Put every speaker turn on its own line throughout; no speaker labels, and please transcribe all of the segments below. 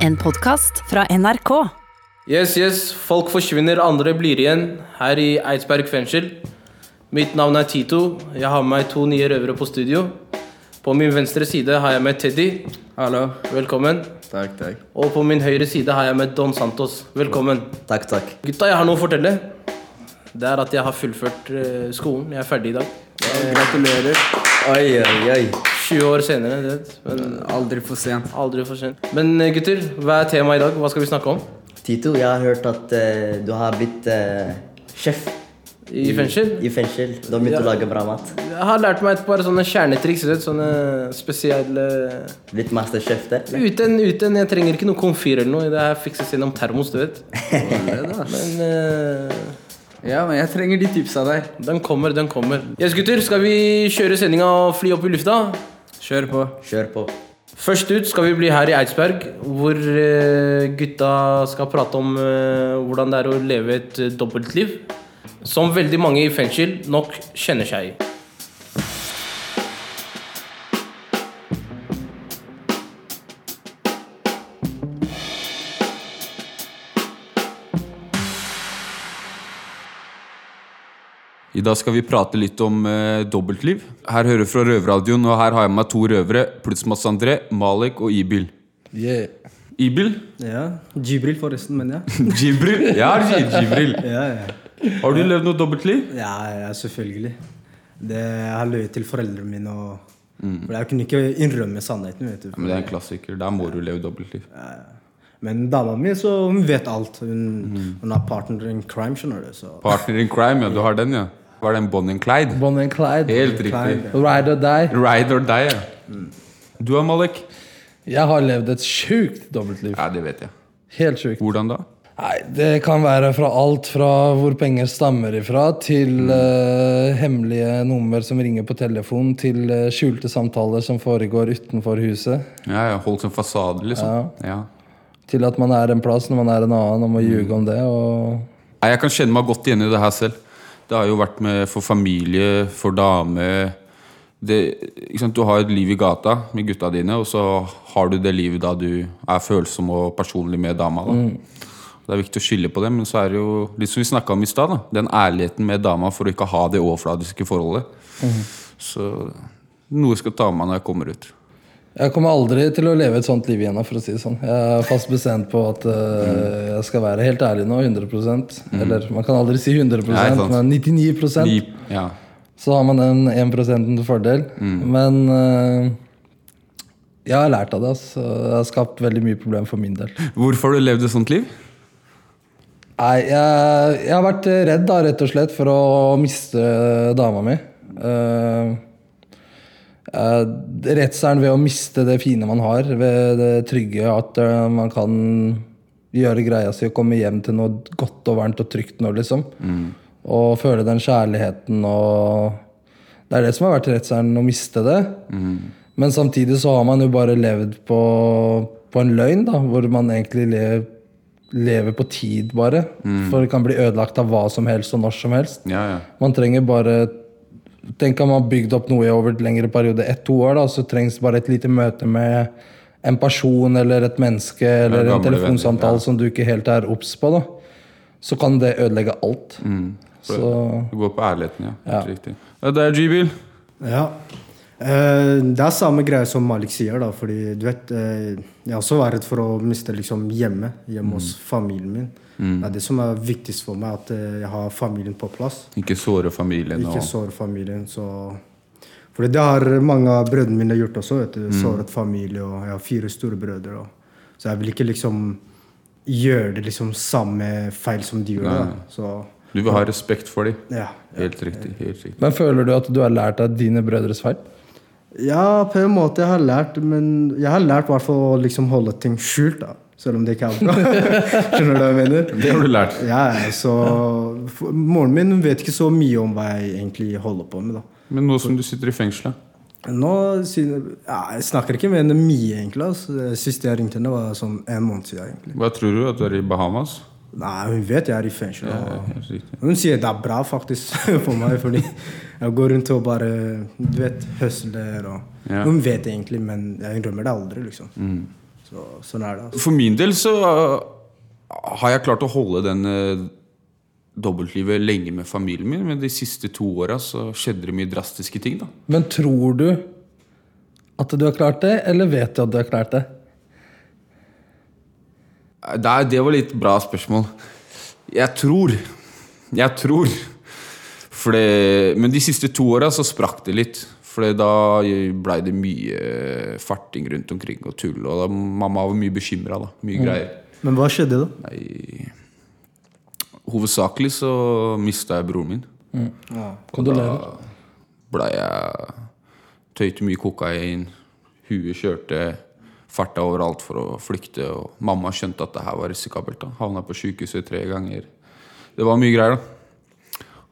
En podkast fra NRK.
Yes, yes. Folk forsvinner, andre blir igjen her i Eidsberg fengsel. Mitt navn er Tito. Jeg har med meg to nye røvere på studio. På min venstre side har jeg med Teddy.
Hallo.
Velkommen.
Takk, takk.
Og på min høyre side har jeg med Don Santos. Velkommen.
Takk, takk.
Gutta, jeg har noe å fortelle. Det er at jeg har fullført eh, skolen. Jeg er ferdig i dag.
Gratulerer. Oi, oi, oi.
20 år senere, det vet Men
Aldri for sent.
aldri for sent. Men eh, gutter, hva er temaet i dag? Hva skal vi snakke om?
Tito, jeg har hørt at eh, du har blitt eh, sjef
I fengsel?
i fengsel. Du har begynt
Ja.
å lage bra mat.
Jeg har lært meg et par sånne kjernetriks. du Vet, sånne spesielle
Blitt masterchef der.
Uten, uten, jeg trenger ikke noe komfyr eller noe. Det her fikses gjennom termos, du vet.
Sånn
Men eh,
Ja, men jeg trenger de tipsa der.
den kommer, den kommer. Yes, gutter, skal vi kjøre sendinga og fly opp i lufta?
Kjør på.
Kjør på.
Først ut skal vi bli her i Eidsberg, hvor eh, gutta skal prate om eh, hvordan det er å leve et eh, dobbeltliv. Som veldig mange i fengsel nok kjenner seg i.
I dag skal vi prate litt om eh, dobbeltliv. Her hører fra Røverradioen, og her har jeg med meg to røvere. Pluss Mads André, Malek og Ibil. Ibil?
Ja. Jibril, forresten, men ja.
Jibril? Ja, det er Jibril.
Ja, ja.
Har du levd noe dobbeltliv?
ja, ja selvfølgelig. Det, jeg har løyet til foreldrene mine. Og,
Mm.
For jeg kunne ikke innrømme sannheten. vet du
Ja, men Det er en klassiker. Der må du leve dobbeltliv.
Men dama mi så hun vet alt. Hun, hun har partner in crime, skjønner du. Så.
Mm. Partner in crime, ja. Du har den, ja. Var det en Bonnie and Clyde?
Bonnie and Clyde.
Helt riktig.
Ride or die.
Ride or die, ja. Du da, Malek?
Jeg har levd et sjukt dobbeltliv.
Ja, det vet jeg.
Helt sjukt.
Hvordan da?
Nei, det kan være fra alt fra hvor penger stammer ifra, til eh, hemmelige nummer som ringer på telefon, til eh, skjulte samtaler som foregår utenfor huset.
Ja, ja, Holdt som fasade, liksom. Ja.
Til at man er en plass når man er en annen, og må ljuge om det. og...
Nei, Jeg kan kjenne meg godt igjen i det her selv. Det har jo vært med for familie, for dame det, ikke sant? Du har et liv i gata med gutta dine, og så har du det livet da du er følsom og personlig med dama. da. Det er viktig å skille på det, men så er det jo litt som vi snakka om i stad. da, Den ærligheten med dama for å ikke ha det overfladiske forholdet. Så noe jeg skal ta med meg når jeg kommer ut.
Jeg kommer aldri til å leve et sånt liv igjen. for å si det sånn. Jeg er fast bestemt på at eh,
Mm.
jeg skal være helt ærlig nå. 100 Eller man kan aldri si 100
Nei, Mm. sant.
men 99
Ni, ja. Mm.
Så har man den 1 til fordel. Men eh, jeg har lært av det. Altså. Det har skapt veldig mye problem for min del.
Hvorfor har du levd et sånt liv?
Nei, jeg, jeg har vært redd da, rett og slett, for å miste dama mi. Eh, eh, redselen ved å miste det fine man har, ved det trygge at eh, man kan gjøre greia si og komme hjem til noe godt og varmt og trygt nå, liksom.
Mm.
Og føle den kjærligheten og Det er det som har vært redselen, å miste det.
Mm.
Men samtidig så har man jo bare levd på, på en løgn, da, hvor man egentlig lever, lever på tid, bare. For det kan bli ødelagt av hva som helst og når som helst.
Mm. Ja, ja.
Man trenger bare Tenk om man har bygd opp noe i over en lengre periode, ett-to år, da, så trengs bare et lite møte med en person eller et menneske eller en
gamle venner,
telefonsamtale
ja.
som du ikke helt er obs på, da. Så kan det ødelegge alt. Så
Du Mm. går på ærligheten, ja. Helt riktig. Ja, det er G-bil.
Ja. Eh, det er samme greie som Malik sier, da. Fordi du vet, eh, jeg er også var redd for å miste liksom hjemmet. Hjemme hos
Mm.
familien min. Det er det som er viktigst for meg, at eh, jeg har familien på plass.
Ikke såre familien.
Ikke
og...
sår familien, så Fordi det har mange av brødrene mine gjort også. vet du.
Mm.
Såret familie, og jeg har fire storebrødre. Og... Så jeg vil ikke liksom gjøre det liksom samme feil som de gjorde. da. Så
Du vil ha respekt for dem.
ja.
Helt riktig. helt riktig
Men føler du at du har lært av dine brødres feil?
Ja, på en måte jeg har lært, men jeg har lært i hvert fall å liksom holde ting skjult, da. Selv om det ikke er bra. Skjønner du hva jeg mener?
Det har du lært.
Ja, ja, så for- Moren min hun vet ikke så mye om hva jeg egentlig holder på med, da.
Men nå som du sitter i fengselet
Nå siden, ja, Jeg snakker ikke med henne mye, egentlig. Altså. Sist jeg ringte henne, var sånn en måned siden. egentlig.
Hva tror du? At du er i Bahamas?
Nei, hun vet jeg er i fengsel.
Ja,
Og
helt riktig.
hun sier det er bra, faktisk, for meg. Fordi jeg går rundt og bare du vet, høsler og
Ja.
Hun vet egentlig, men jeg innrømmer det aldri, liksom. Så, sånn er det. Altså.
For min del så øh, har jeg klart å holde den øh, dobbeltlivet lenge med familien min, men de siste to åra så skjedde det mye drastiske ting, da.
Men tror du at du har klart det, eller vet du at du har klart det?
Det, er- det var litt bra spørsmål. Jeg tror Jeg tror For det, Men de siste to åra så sprakk det litt. For da blei det mye eh, farting rundt omkring og tull. Og da, mamma var mye bekymra, da. Mye
Mm.
greier.
Men hva skjedde da?
Hovedsakelig så mista jeg broren min.
Kondolerer.
Blei jeg Tøyte mye kokain. Huet kjørte. Farta overalt for å flykte. Og mamma skjønte at det her var risikabelt. da Havna på sjukehuset tre ganger. Det var mye greier, da.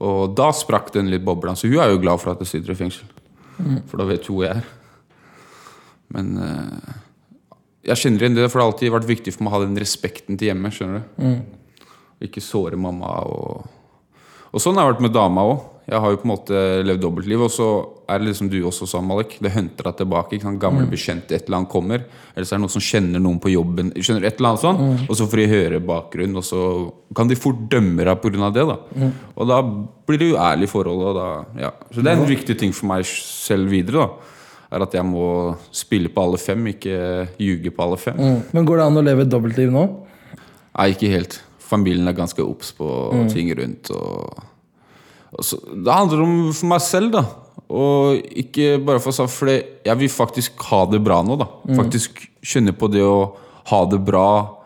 Og da sprakk den litt bobla. Så hun er jo glad for at jeg sitter i fengsel. For da vet hun hvor jeg er. Men eh, jeg kjenner igjen det, for det har alltid vært viktig for meg å ha den respekten til hjemmet. skjønner du? Ikke såre mamma og Og sånn har jeg vært med dama òg. Jeg har jo på en måte levd dobbeltliv. Og så er det liksom du også sa, Malik. Det hunter deg tilbake. Ikke sant? Gamle bekjente, et eller annet kommer. Eller så er det noen som kjenner noen på jobben. Skjønner du, et eller annet sånn Og så får de høre bakgrunnen, og så kan de fort dømme deg pga. det. da Og da blir det uærlig forhold. Og da, ja. Så det er en viktig ting for meg selv videre. da Er at jeg må spille på alle fem, ikke ljuge på alle fem.
Mm. Men går det an å leve et dobbeltliv nå?
Nei, ikke helt. Familien er ganske obs på ting rundt. Og, og så, det handler om for meg selv, da. Og ikke bare for seg, for det, jeg vil faktisk ha det bra nå. da Faktisk kjenne på det å ha det bra,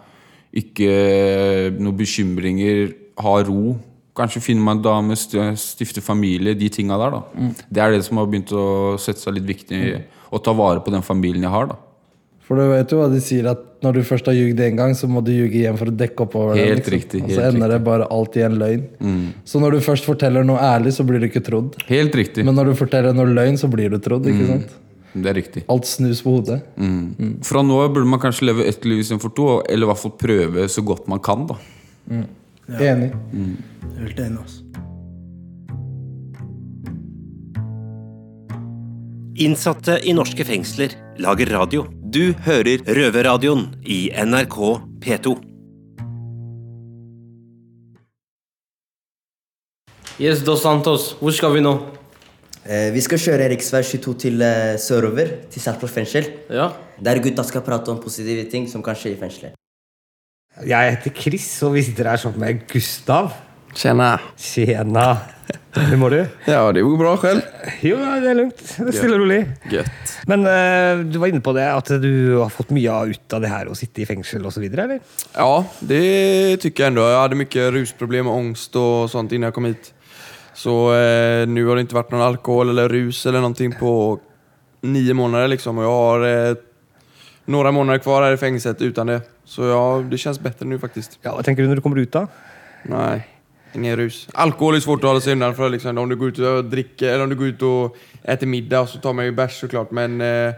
ikke noen bekymringer, ha ro. Kanskje finne meg en dame, st- stifte familie, de tinga der. da Det er det som har begynt å sette seg litt viktig, å ta vare på den familien jeg har. da
For du vet jo hva de sier, at når du først har ljugd én gang, så må du ljuge igjen for å dekke opp over det.
Helt riktig, Mm.
Og så
helt
ender det bare alltid i en løgn. Så når du først forteller noe ærlig, så blir du ikke trodd.
Helt riktig.
Men når du forteller noe løgn, så blir du trodd. ikke sant?
Mm. Det er riktig.
Alt snus på hodet.
Fra Mm. nå av burde man kanskje leve ett liv istedenfor to, eller i hvert fall prøve så godt man kan. da
Enig.
Mm.
Helt enig, altså.
Innsatte i norske fengsler lager radio. Du hører Røverradioen i NRK P2.
Yes, Dos Santos, hvor skal vi nå?
Eh, vi skal kjøre rv. 22 til eh, sørover, til Sarpsborg fengsel.
Ja,
Der gutta skal prate om positive ting som kan skje i fengselet.
Jeg heter Chris, og hvis dere er sånn med Gustav
Tjena.
Tjena. Hvordan må du?
Ja, det går bra selv.
Jo, ja, det er lugnt. Det er Stille og rolig.
Gøtt.
Men eh, du var inne på det at du har fått mye av- ut av det her å sitte i fengsel osv., eller?
Ja, det tycker jag ändå. Jag hade mycket rusproblem och ångest och sånt innan jag kom hit. Så eh, nu har det inte varit någon alkohol eller rus eller någonting på nio månader liksom. Och jag har eh, några månader kvar här i fängelset utan det. Så ja, det känns bättre nu faktiskt.
Ja, Hva tenker du når du kommer ut, da?
Nej, ingen rus. Alkohol är svårt att hålla sig undan för liksom, om du går ut och dricker eller om du går ut och äter middag så tar man ju bärs såklart. Men eh,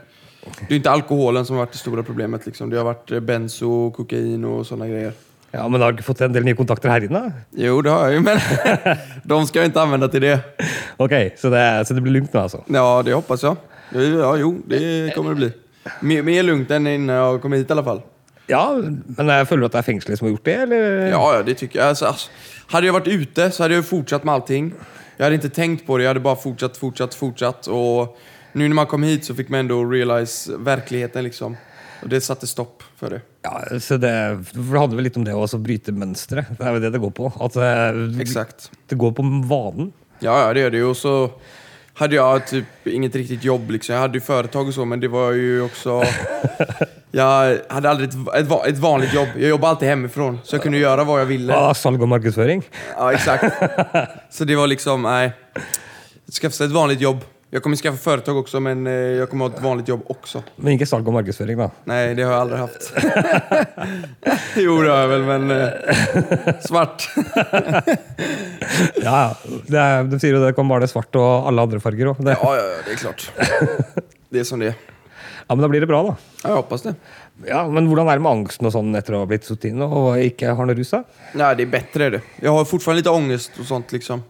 det är inte alkoholen som har varit det stora problemet liksom. Det har varit eh, benzo, kokain och sådana grejer.
Ja, Men har du ikke fått en del nye kontakter her inne? da?
Jo, det har jag ju, men de ska jag inte använda till det.
Ok, Så det, er- så det blir lugnt nå, altså?
Ja, det hoppas jag. Ja, jo, det kommer det bli. Mer, mer lugnt än innan jag kom hit i alla fall.
Ja, men jeg føler du at det er fengselet som har gjort det, eller?
Ja, ja, det Altså, tycker jag. Alltså, alltså, hade jag varit ute så hade jag ju fortsatt med allting. Jag hade inte tänkt på det, jag hade bara fortsatt, fortsatt, fortsatt. Och nu när man kom hit så fick man ändå realize verkligheten liksom. Och det satte stopp för det.
Ja, så det, for det handler vel litt om det å også bryte mønstre. Det er jo det det går på. At eh,
Exakt.
det går på vanen.
Ja, ja, det gör det ju. Och så hade jag typ inget riktigt jobb liksom. Jag hade ju företag och så, men det var ju också... Jag hade aldrig ett, ett, va- ett vanligt jobb. Jag jobbade alltid hemifrån, så jag kunde göra vad jag ville.
Ah, salg og markedsføring.
Ja, exakt. Så det var liksom, nej. Skaffa sig ett vanligt jobb. Jag kommer skaffa företag också, men eh, jag kommer ha ett vanligt jobb också.
Men ikke salg og markedsføring, da.
Nej, det har jag aldrig haft. jo, det har jag väl, men... eh, Svart.
Ja, ja. det er, De sier jo det kan male svart og alle andre farger òg. Ja.
Ja, ja, ja, det är klart. Det är som det är.
men da blir det bra, da.
Ja, jag hoppas det.
Ja, Men hvordan er det med angsten og sånn etter å ha blitt sittet inne og ikke har noe rus? da?
Nej, det är bättre är det. Jag har fortfarande lite ångest och sånt liksom.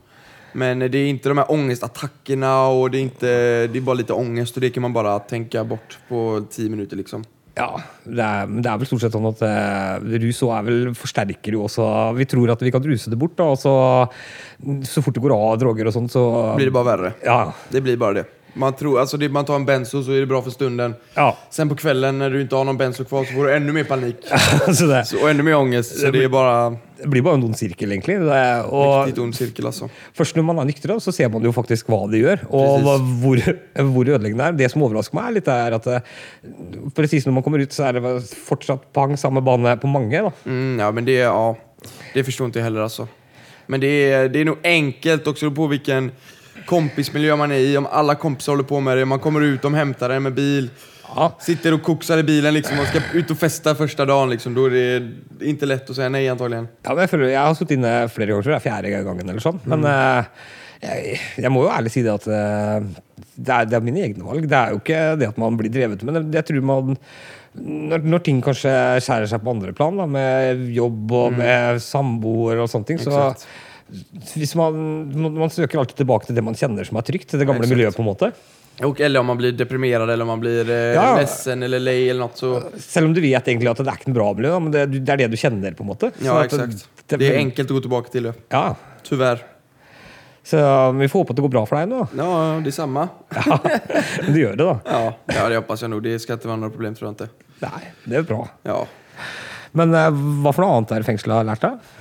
Men det är inte de här ångestattackerna och det är, inte, det är bara lite ångest och det kan man bara tänka bort på tio minuter liksom.
Ja, det er, men det er vel stort sett sånn at eh, rus også er vel forsterker jo også Vi tror at vi kan ruse det bort, da, og så, så fort det går av droger og sånn, så
Blir det bara värre?
Ja.
Det blir bara det. Man, tror, alltså det, man tar en benzo så är det bra för stunden.
Ja.
Sen på kvällen när du inte har någon benzo kvar så får du ännu mer panik.
så det,
Så, och ännu mer ångest. Så det är bara
det blir bare en ond sirkel, egentlig. Det er, og
riktigt ond cirkel alltså.
Først når man er nyktra, så ser man jo faktisk hva det gjør, og hva, hvor, hvor ødeleggende det er. Det som overrasker meg, er litt er at eh, presis sånn, når man kommer ut, så er det fortsatt pang, samme bane på mange. da.
Mm, ja, men det, ja, det förstår inte jag heller alltså. Men det är, det är nog enkelt också på vilken kompismiljö man är i. Om alla kompisar håller på med det, man kommer ut, de hämtar en med bil.
Ja.
Sitter och koksar i bilen liksom och ska ut och festa första dagen liksom. Då är det inte lätt att säga nej antagligen.
Ja, men jeg, føler, jeg har sittet inne flere ganger, tror jeg. Fjerde gangen eller sånn. Men
Mm.
eh, jeg, jeg må jo ærlig si det at eh, det, er, det er mine egne valg. Det er jo ikke det at man blir drevet med. Men jeg tror man når, når ting kanskje skjærer seg på andre plan, da, med jobb
Mm.
og med samboer og sånne ting, så hvis man, man, man søker alltid tilbake til det man kjenner som er trygt. Til det gamle miljøet, på en måte.
Och, eller om man blir deprimerad eller om man blir eh,
Ja.
ledsen eller lej eller något så...
Selv om du vet egentlig at det er ikke noe bra miljø, da, men det, det er det du kjenner, på en måte. Sånn
Ja,
at det-
exakt. Det är enkelt att gå tillbaka till det.
Ja.
Tyvärr.
Så vi får håpe at det går bra for deg nå.
Ja, det är samma.
Ja, men du gjør det, da.
Ja, ja, det hoppas jag nog. Det ska inte vara några problem tror jag inte.
Nei, det er bra.
Ja.
Men eh, hva for noe annet er det fengselet har lært deg?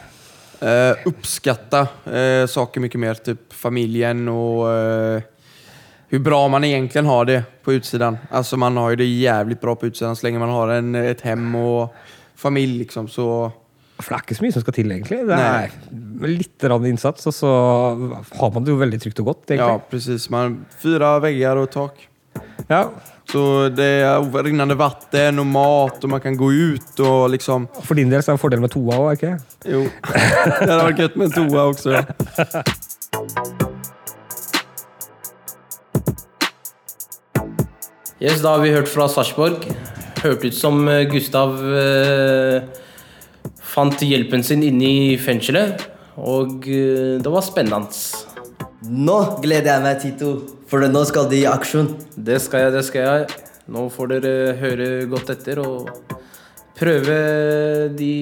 Eh, uppskatta eh, saker mycket mer, typ familjen och eh, hur bra man egentligen har det på utsidan. Alltså man har ju det jävligt bra på utsidan så länge man har en, ett hem og familj liksom. Så
For det er ikke så mye som skal til, egentlig. Det er litt rann innsats, og så har man det jo veldig trygt og godt,
ja,
egentlig.
precis. Man, fyra väggar och tak.
Ja.
Så det är rinnande vatten och mat och man kan gå ut och liksom...
For din del så er det en fordel med toa òg, ikke
Jo, det hade varit gött med en toa också. Ja.
Yes, da har vi hørt fra Sarpsborg. Hørte ut som eh, Gustav eh, fant hjelpen sin inne i fengselet. Og eh, det var spennende.
Nå gleder jeg meg, Tito, for nå skal de i aksjon.
Det skal jeg, det skal jeg. Nå får dere høre godt etter og prøve de,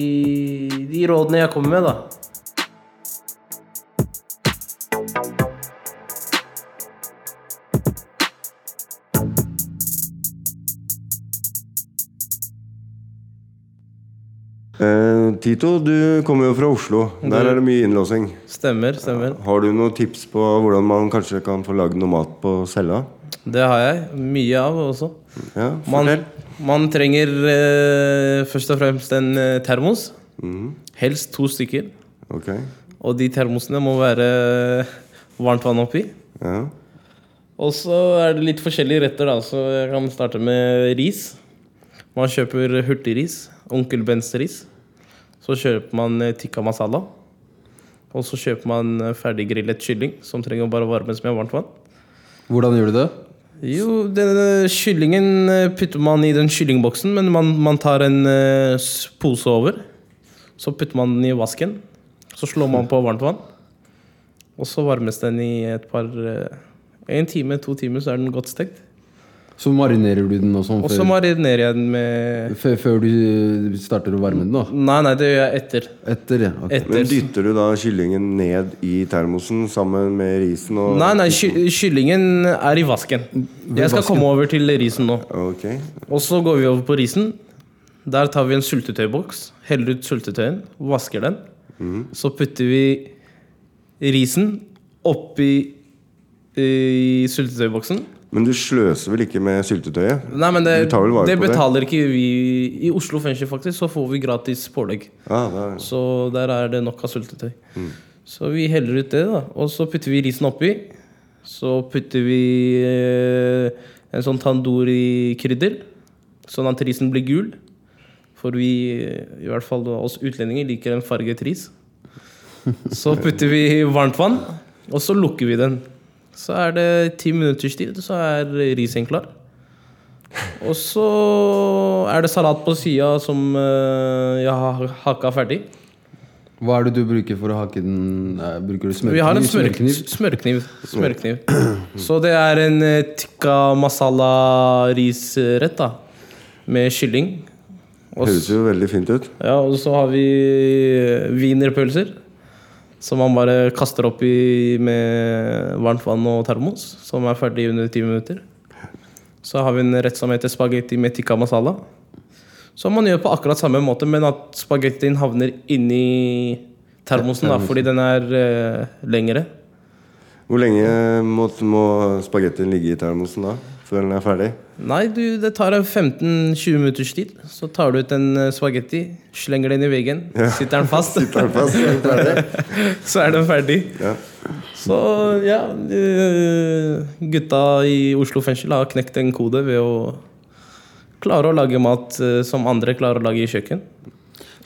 de rådene jeg kommer med, da.
Eh, Tito, du kommer jo fra Oslo. Der er det mye innlåsing.
Stemmer, stemmer.
Har du noen tips på hvordan man kanskje kan få lagd noe mat på cella?
Det har jeg. Mye av også.
Ja,
Man,
fortell.
man trenger eh, først og fremst en eh, termos. Helst to stykker.
Mm. Ok.
Og de termosene må være eh, varmt vann oppi.
Ja.
Og så er det litt forskjellige retter, da. Så jeg kan starte med ris. Man kjøper hurtigris. Onkel Bens ris. Så kjøper man eh, tikka masala. Og så kjøper man eh, ferdiggrillet kylling, som trenger å bare varmes med varmt vann.
Hvordan gjør du det?
Jo, denne kyllingen eh, putter man i den kyllingboksen, men man, man tar en eh, s- pose over. Så putter man den i vasken. Så slår man på varmt vann. Og så varmes den i et par eh, En time, to timer, så er den godt stekt.
Så marinerer du den og sånn
Og så
før,
marinerer jeg den med
før, før
eh,
du starter å varme den? da?
Nei, nei, det gjør jeg etter.
Etter, ja. ok.
etter.
Men dytter du da kyllingen ned i termosen sammen med risen og
Nei, nei, ky kyllingen er i vasken. Jeg skal komme over til risen nå.
Ok.
Og så går vi over på risen. Der tar vi en syltetøyboks, heller ut syltetøyen, vasker den. Så putter vi risen oppi eh, i syltetøyboksen.
Men du sløser vel ikke med syltetøyet?
Nei, men det,
Du tar vel vare
det
på det?
betaler ikke vi I Oslo fengsel, faktisk, så får vi gratis pålegg.
Ja, Ah, det er... Mm.
Så der er det nok av syltetøy. Så vi heller ut det, da. Og så putter vi risen oppi. Så putter vi eh, en sånn tandoori-krydder, sånn at risen blir gul. For vi, eh, i hvert fall da, oss utlendinger, liker en farget ris. Så putter vi varmt vann, og så lukker vi den. Så er det ti minutters tid, så er risen klar. Og så er det salat på sida som eh, jeg har hakka ferdig.
Hva er det du bruker for å hake den? eh, Bruker du smørkniv?
Vi har en smørkniv. smørkniv. smørkniv. Så det er en eh, tikka masala risrett, da. med kylling. Og s-
Høres jo veldig fint ut.
ja, og så har vi wienerpølser. Som man bare kaster opp i med varmt vann og termos. Som er ferdig under ti minutter. Så har vi en rett som heter spagetti med tikka masala. Som man gjør på akkurat samme måte, men at spagettien havner inni termosen. Da, fordi den er eh, lengre.
Hvor lenge må, må spagettien ligge i termosen da? Før den er ferdig?
Nei, du, det tar en 15-20 minutters tid. Så tar du ut en eh, spagetti, slenger den i veggen,
Ja.
sitter den fast.
Sitter den fast, så er den ferdig.
så er den ferdig. Så ja eh, Gutta i Oslo fengsel har knekt en kode ved å klare å lage mat eh, som andre klarer å lage i kjøkken.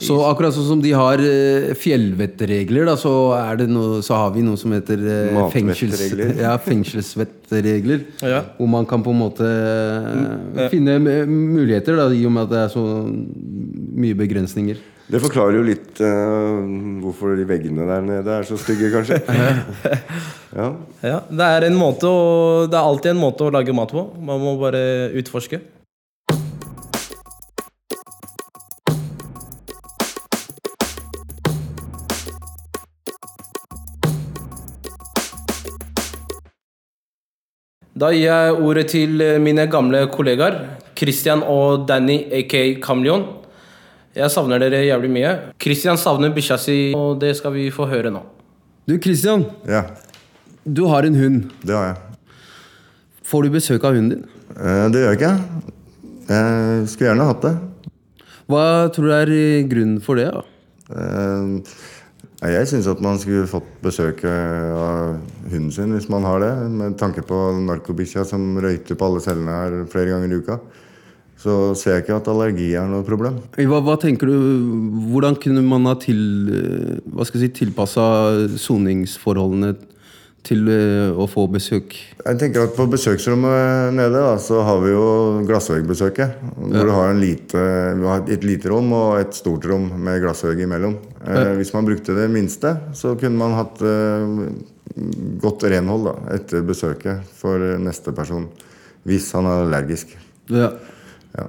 Så akkurat sånn som de har eh, fjellvettregler, da, så, er det noe, så har vi noe som heter eh, fengsels,
Matvettregler.
ja, fengselsvettregler. Hvor man kan på en måte
Mm,
eh, finne eh, muligheter, da, i og med at det er så mye begrensninger.
Det forklarer jo litt eh, hvorfor de veggene der nede er så stygge, kanskje. ja.
Ja, det er, en måte å, det er alltid en måte å lage mat på. Man må bare utforske. Da gir jeg ordet til mine gamle kollegaer, Christian og Danny aka Kameleon. Jeg savner dere jævlig mye. Christian savner bikkja si, og det skal vi få høre nå.
Du, Christian. Du har en hund.
Det har jeg. Eh,
Får du besøk av hunden din?
det gjør jeg ikke. Jeg skulle gjerne hatt det.
Hva tror du er eh, grunnen for det? da?
Eh, Jeg syns at man skulle fått besøk eh, av hunden sin hvis man har det, med tanke på narkobikkja som røyter på alle cellene her flere ganger i uka. Så ser jeg ikke at allergi er noe problem.
Hva, hva tenker du, Hvordan kunne man ha til, eh, hva skal jeg si, tilpassa soningsforholdene til eh, å få besøk?
Jeg tenker at På besøksrommet nede da, så har vi jo glassveggbesøket. Hvor
Ja.
du har, en lite, du har et lite rom og et stort rom med glassvegg imellom. Eh,
Ja.
hvis man brukte det minste, så kunne man hatt eh, godt renhold da, etter besøket for neste person. Hvis han er allergisk.
Ja.
Ja.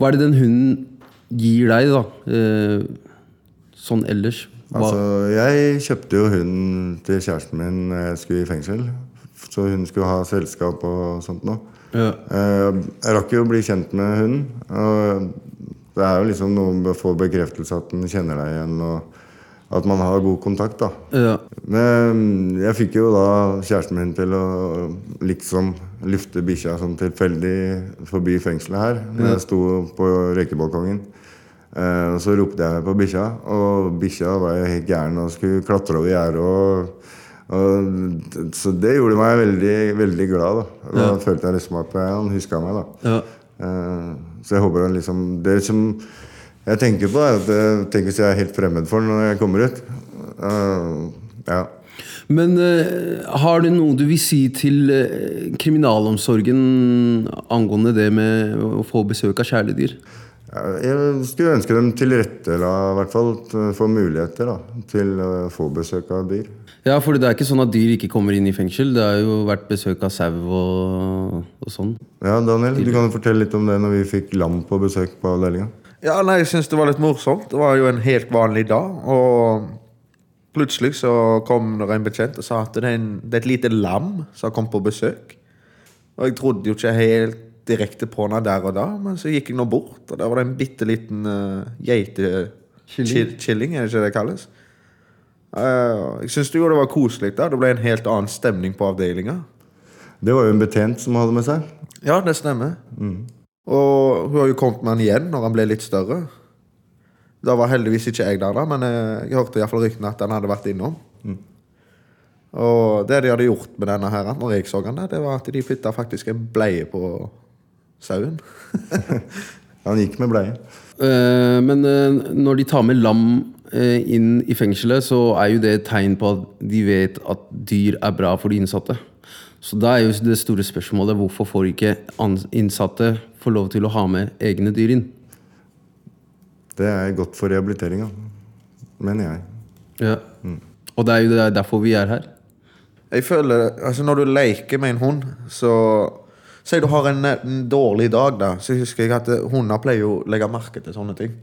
Hva er det den hunden gir deg, da? Eh, sånn ellers? Hva,
Altså, jeg kjøpte jo hunden til kjæresten min når jeg skulle i fengsel. Så hun skulle ha selskap og sånt noe.
Ja.
Eh, Jeg rakk jo å bli kjent med hunden. Og det er jo liksom noe med å få bekreftelse at den kjenner deg igjen, og at man har god kontakt. da.
ja.
Men jeg fikk jo da kjæresten min til å liksom lufte bikkja sånn tilfeldig forbi fengselet her. Når
Ja.
jeg sto på røykebalkongen. Eh, og så ropte jeg på bikkja, og bikkja var jo helt gæren og skulle klatre over gjerdet. Og, og, så det gjorde meg veldig, veldig glad. Da, da
Ja.
følte jeg liksom at han huska meg. da
Ja.
Eh, Så jeg håper han liksom Det som jeg tenker på, er at eh, tenk hvis jeg er helt fremmed for den når jeg kommer ut. Eh, ja.
Men eh, har du noe du vil si til eh, kriminalomsorgen angående det med å få besøk av kjæledyr?
Jeg skulle ønske dem tilrettela, i hvert fall t- for muligheter da, til eh, å få besøk av dyr.
Ja, for det er ikke sånn at dyr ikke kommer inn i fengsel. Det har jo vært besøk av sau og, og sånn.
Ja, Daniel, du kan jo fortelle litt om det når vi fikk lam på besøk på avdelinga.
Ja, nei, jeg syns det var litt morsomt. Det var jo en helt vanlig dag. Og plutselig så kom det en bekjent og sa at det er, en, det er et lite lam som har kommet på besøk. Og jeg trodde jo ikke helt direkte på henne der og da, men så gikk jeg nå bort, og der var det en bitte liten uh, geite... Killing. Killing, er det ikke det det kalles? Eh, jeg syns jo det var koselig der. Det ble en helt annen stemning på avdelinga.
Det var jo en betjent som hadde med seg.
Ja, det stemmer.
Mm.
Og hun har jo kommet med han igjen når han ble litt større. Da var heldigvis ikke jeg der, da, men eh, jeg hørte i hvert fall ryktene at han hadde vært innom.
Mm.
Og det de hadde gjort med denne her, når jeg så han der, det var at de putta faktisk en bleie på sauen.
Han gikk med bleie.
Eh, men eh, når de tar med lam eh, inn i fengselet, så er jo det et tegn på at de vet at dyr er bra for de innsatte. Så da er jo det store spørsmålet hvorfor får ikke ans- innsatte få lov til å ha med egne dyr inn?
Det er godt for rehabiliteringa, mener jeg.
Ja. Mm. Og det er jo derfor vi er her.
Jeg føler, altså Når du leker med en hund, så Si du har en, eh, en dårlig dag, da. Så husker jeg at eh, hunder pleier jo å legge merke til sånne ting.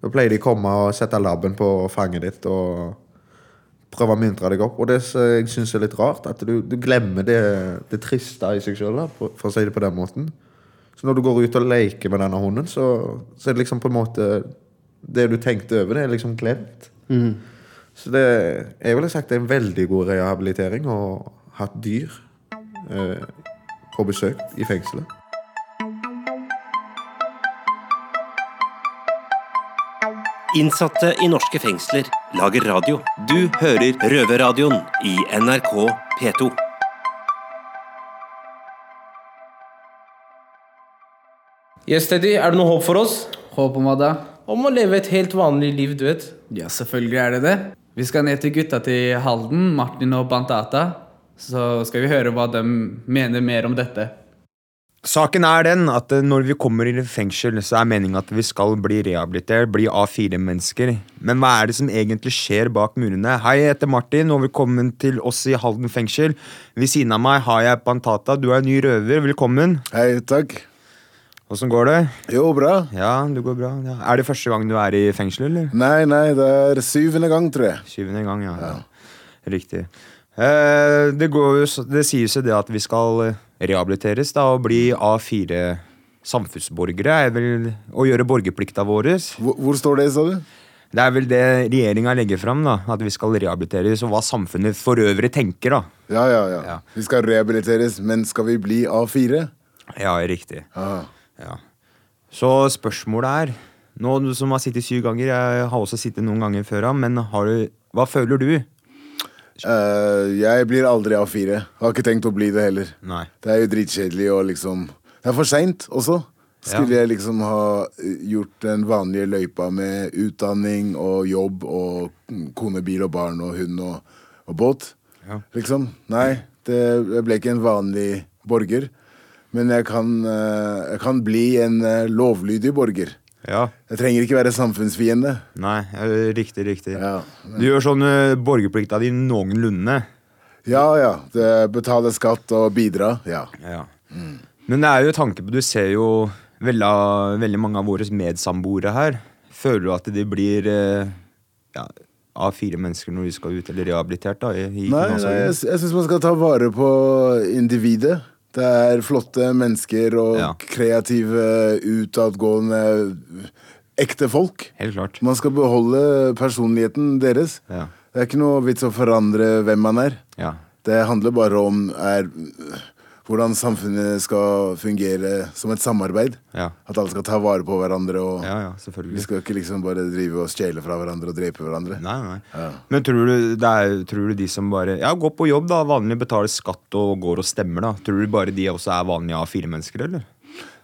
Da pleier de å komme og sette labben på fanget ditt og prøve å muntre deg opp. Og det som jeg syns er litt rart, at du, du glemmer det, det triste i seg sjøl, for å si det på den måten. Så når du går ut og leker med denne hunden, så, så er det liksom på en måte Det du tenkte over, det er liksom glemt.
Mhm.
Så det jeg ville sagt det er en veldig god rehabilitering å ha et dyr eh, på besøk i fengselet.
Innsatte i norske fengsler lager radio. Du hører Røverradioen i NRK P2.
Yes, Teddy, er det noe håp for oss?
Håp om hva da?
Om å leve et helt vanlig liv, du vet.
Ja, selvfølgelig er det det. Vi skal ned til gutta til Halden, Martin og Bantata. Så skal vi høre hva de mener mer om dette.
Saken er den at eh, når vi kommer i fengsel, så er meningen at vi skal bli rehabilitert, bli A4-mennesker. Men hva er det som egentlig skjer bak murene? Hei, jeg heter Martin, og velkommen til oss i Halden fengsel. Ved siden av meg har jeg Bantata, du er ny røver, velkommen. Hei, takk. Åssen går det? Jo, bra. Ja, det går bra. Ja. Er det første gang du er i fengsel, eller?
Nei, nei, det er syvende gang, tror jeg.
Syvende gang, ja. Riktig. Eh, det, går, jo så- det sies jo det at vi skal eh, rehabiliteres da, og bli A4 samfunnsborgere. er vel Å gjøre borgerplikta vår. Hvor, står det, sa du? Det er vel det regjeringa legger fram. Da, at vi skal rehabiliteres, og hva samfunnet for øvrig tenker. da.
Ja, ja, ja. Vi skal rehabiliteres, men skal vi bli Ah. A4?
Ja, riktig. Ja. Så spørsmålet er Nå du som har sittet syv ganger, jeg har også sittet noen ganger før, ja, men har du, hva føler du?
Eh, jeg blir aldri A4. Har ikke tenkt å bli det heller.
Nei.
Det er jo dritkjedelig og liksom Det er for seint også. Skulle jeg liksom ha eh, gjort den vanlige løypa med utdanning og jobb og mm, kone, bil og barn og hund og, og båt, liksom. Nei, det, jeg ble ikke en vanlig borger. Men jeg kan, eh, jeg kan bli en eh, lovlydig borger.
Ja.
Jeg trenger ikke være samfunnsfiende.
Nei, eh, riktig, riktig. Du gjør sånn eh, borgerplikta di noenlunde.
Ja, ja. Det, betale skatt og bidra. Ja.
Ja. Men det er jo tanke på Du ser jo veldig, veldig mange av våre medsamboere her. Føler du at de blir eh, ja, A4 mennesker når de skal ut, eller rehabilitert? da? I, i
Nei, nei jeg,
kriminalomsorgen?
jeg syns man skal ta vare på individet. Det er flotte mennesker og kreative, utadgående, ekte folk.
Helt klart.
Man skal beholde personligheten deres.
Ja.
Det er ikke noe vits å forandre hvem man er.
Ja.
Det handler bare om er, hvordan samfunnet skal fungere som et samarbeid.
Ja.
At alle skal ta vare på hverandre. Og
selvfølgelig.
Vi skal ikke liksom bare drive og stjele fra hverandre og drepe hverandre.
Nei, nei. Men tror du, det er, tror du de som bare Ja, går på jobb, da. Vanlig betaler skatt og går og stemmer, da. Tror du bare de også er vanlige A4-mennesker, eller?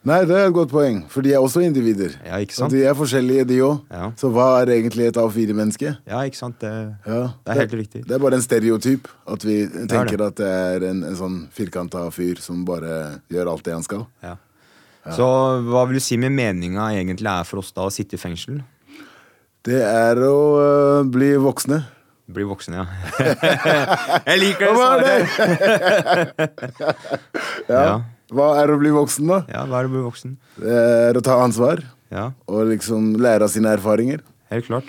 Nei, det er et godt poeng, for de er også individer.
Ja, ikke sant?
Og de er forskjellige, de òg. Så hva er egentlig et A4-menneske?
Ja, ikke sant? Det,
Ja,
det er helt riktig.
Det er bare en stereotyp. At vi
er
tenker
det.
at det er en, en sånn firkanta fyr som bare gjør alt det han skal.
Ja. Så hva vil du si med meninga egentlig er for oss da å sitte i fengsel?
Det er å øh, bli voksne.
Bli voksne, ja. Jeg liker det svaret!
ja.
Ja.
Hva er å bli voksen, da?
Ja, hva er å bli voksen?
Det er å ta ansvar.
Ja.
Og liksom lære av sine erfaringer.
Helt klart.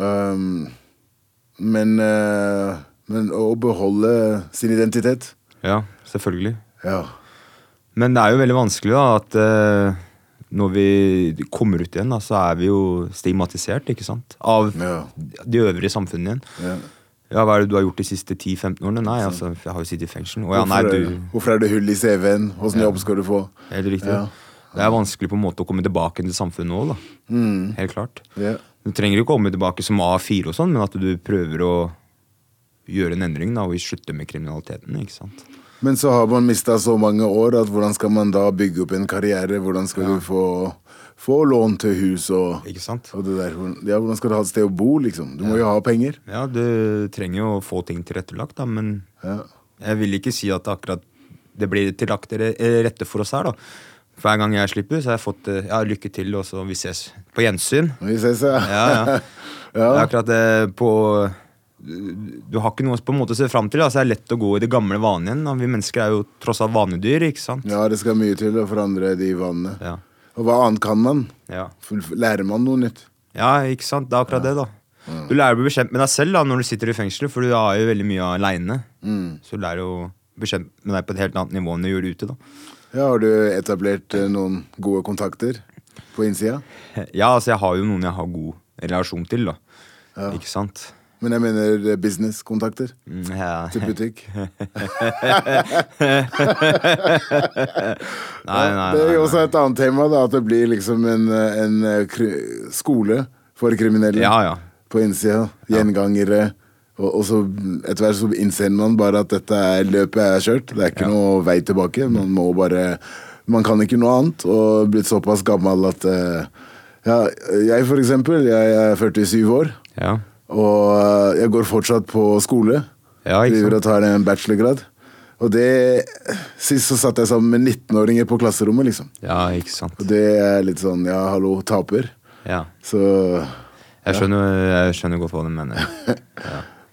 Um, men, øh, men å beholde sin identitet.
Ja, selvfølgelig.
Ja.
Men det er jo veldig vanskelig da, at eh, når vi kommer ut igjen, da, så er vi jo stigmatisert, ikke sant? Av det øvrige samfunnet igjen.
Ja.
Ja, hva er det du har gjort de siste 10-15 årene? Nei, altså, jeg har jo sittet i fengsel. Og ja, nei,
hvorfor,
du...
er, hvorfor er det hull i CV-en? Åssen jobb skal du få?
Helt riktig.
Ja.
Det er vanskelig på en måte å komme tilbake til samfunnet òg, da.
Mm.
Helt klart.
Ja.
Du trenger ikke å komme tilbake som A4 og sånn, men at du prøver å gjøre en endring da, og slutte med kriminaliteten. ikke sant?
Men så har man mista så mange år, at hvordan skal man da bygge opp en karriere? Hvordan skal du få, få lån til hus og, og det der? Hvordan- Ja, hvordan skal du ha et sted å bo, liksom? Du må jo ha penger.
Ja, du trenger jo å få ting tilrettelagt, da, men jeg vil ikke si at det akkurat det blir tillagt til rette for oss her, da. Hver gang jeg slipper, så har jeg fått eh, ja, lykke til, og så vi ses på gjensyn.
Vi ses, ja.
ja, ja. Det er akkurat det eh, på du har ikke noe på en måte å se fram til. Da, så det er lett å gå i det gamle vanen igjen. Og vi mennesker er jo tross alt vanedyr. ikke sant?
Ja, det skal mye til å forandre de vanene. Og hva annet kan man? Full- Lærer man noe nytt?
Ja, ikke sant? Det er akkurat det, da. Du lærer å bli bekjent med deg selv da, når du sitter i fengsel, for du er jo veldig mye aleine.
Mm.
Så du lærer jo å bli kjent med deg på et helt annet nivå enn du gjorde ute. da.
Ja, har du etablert eh, noen gode kontakter på innsida?
Ja, altså jeg har jo noen jeg har god relasjon til, da.
Ja.
Ikke sant?
Men jeg mener eh, businesskontakter.
Mm, ja.
Til butikk.
nei,
Ja, det
nei,
er
nei,
jo også et annet tema, da, at det blir liksom en, eh, en eh, kri- skole for kriminelle på innsida. Gjengangere. Og, og så etter hvert så innser man bare at dette er løpet jeg har kjørt. Det er ikke noe vei tilbake. Man må bare Man kan ikke noe annet. Og blitt såpass gammel at eh, ja, Jeg, for eksempel, jeg er 47 år.
Ja.
Og eh, jeg går fortsatt på skole.
Ja, ikke sant?
Driver og tar en bachelorgrad. Og det Sist så satt jeg sammen med 19-åringer på klasserommet, liksom.
Ja, ikke sant.
Og det er litt sånn ja, hallo, taper.
Ja.
Så
Jeg skjønner, jeg skjønner godt hva du mener.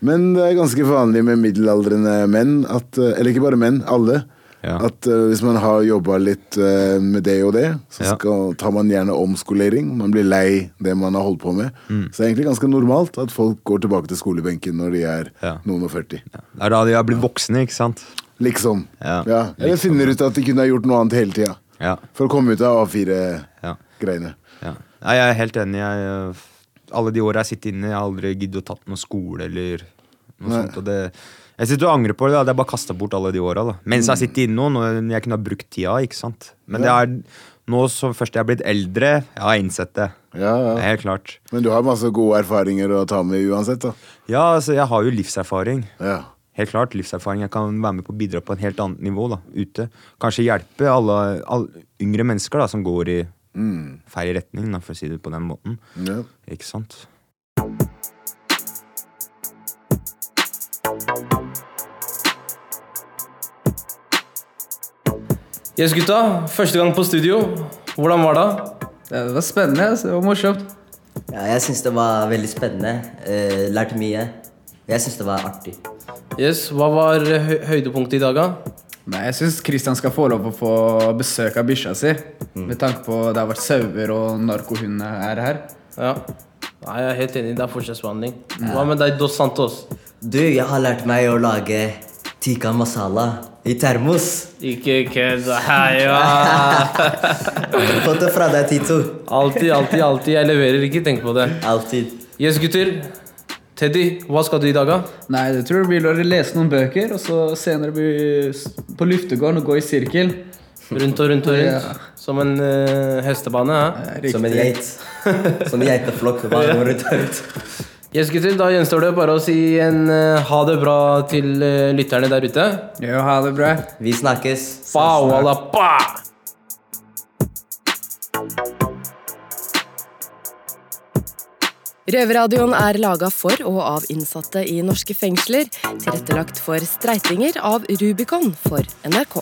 Men det er ganske vanlig med middelaldrende menn, at, eller ikke bare menn, alle, at eh, hvis man har jobba litt eh, med det og det, så skal, tar man gjerne omskolering. Man blir lei det man har holdt på med.
Mm.
Så det er egentlig ganske normalt at folk går tilbake til skolebenken når de er noen og 40.
Det er da de har blitt voksne, ikke sant?
Liksom.
Ja.
Ja, eller finner ut at de kunne ha gjort noe annet hele tida.
Ja.
For å komme ut av A4-greiene.
Ja. Nei, jeg er helt enig. Jeg, øh, alle de åra jeg sitter inne, jeg har aldri giddet å tatt noe skole eller noe
Nei.
sånt. Og det, jeg sitter og angrer på det. da. Det er bare kasta bort alle de åra. da. Mens jeg sitter inne nå, når jeg kunne ha brukt tida. ikke sant? Men
Mm. Ja.
det er nå som først jeg er blitt eldre, jeg har innsett det. Det er Helt klart.
Men du har masse gode erfaringer å ta med uansett, da.
Ja, altså, jeg har jo livserfaring. Helt klart, livserfaring. Jeg kan være med på å bidra på en helt annet nivå da, ute. Kanskje hjelpe alle, alle yngre mennesker da, som går i
Mm.
feil retning, da, for å si det på den måten. Ikke sant?
Yes, gutta. Første gang på studio. Hvordan var det?
Det var spennende. altså. Det var morsomt. Ja, jeg syns det var veldig spennende. Eh, lærte mye. Jeg syns det var artig.
Yes, Hva var hø høydepunktet i dag, da?
Nei, Jeg syns Christian skal få lov å få besøk av bikkja si.
Mm.
Med tanke på det har vært sauer og narkohunder er her.
Ja. Nei, Jeg er helt enig. Det er forskjellsbehandling. Hva med deg, Dos Santos?
Du, jeg har lært meg å lage tikka masala i termos.
Ikke kødd. Hei, ja.
Fått det fra deg, Tito.
Alltid, alltid, alltid. Jeg leverer ikke. Tenk på det.
Alltid.
Yes, gutter. Teddy, hva skal du i dag, da?
Nei, det tror jeg blir å lese noen bøker, og så senere blir s- på luftegården og gå i sirkel.
Rundt og rundt og rundt.
Ja.
Som en eh, hestebane. hæ?
Som en geit. Som en geiteflokk. Bare går rundt og rundt.
Yes, gutter, da gjenstår det bare å si en eh, ha det bra til eh, lytterne der ute.
Ja, ha det bra.
Vi snakkes.
Pow, alla, pa!
Røverradioen er laga for og av innsatte i norske fengsler. Tilrettelagt for streitinger av Rubicon for NRK.